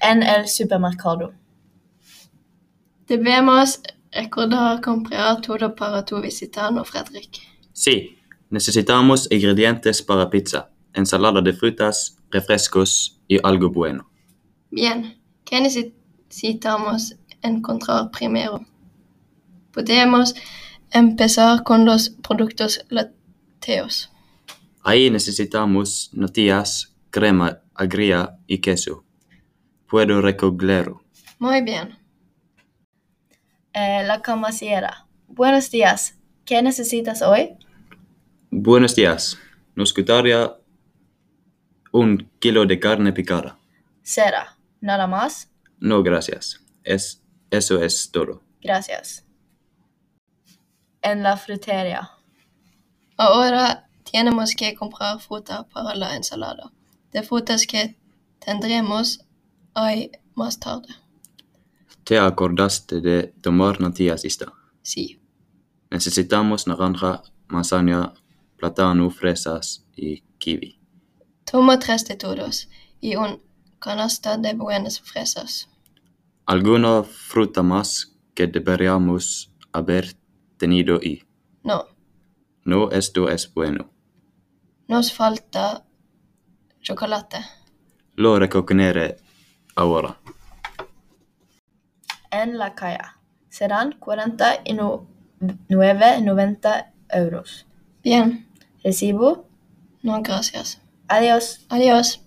en el supermercado. Debemos recordar comprar todo para tu visitano, Fredrik. Sí, necesitamos ingredientes para pizza, ensalada de frutas, refrescos y algo bueno. Bien, ¿qué necesitamos encontrar primero? Podemos empezar con los productos lácteos. Ahí necesitamos natillas, crema agria y queso. Puedo recogerlo. Muy bien. Eh, la camasiera. Buenos días. ¿Qué necesitas hoy? Buenos días. Nos gustaría un kilo de carne picada. Cera. Nada más. No, gracias. Es, eso es todo. Gracias. En la frutería. Ahora tenemos que comprar fruta para la ensalada. De frutas que tendremos hoy más tarde. ¿Te acordaste de tomar natillas esta? Sí. Necesitamos naranja, manzana, plátano, fresas y kiwi. Toma tres de todos y un canasta de buenas fresas. ¿Alguna fruta más que deberíamos haber tenido y? No, No, esto es bueno. nos falta chocolate. Lo recogeré ahora. En la calle. Serán 49,90 euros. Bien, Recibo. no gracias. Adiós. Adiós.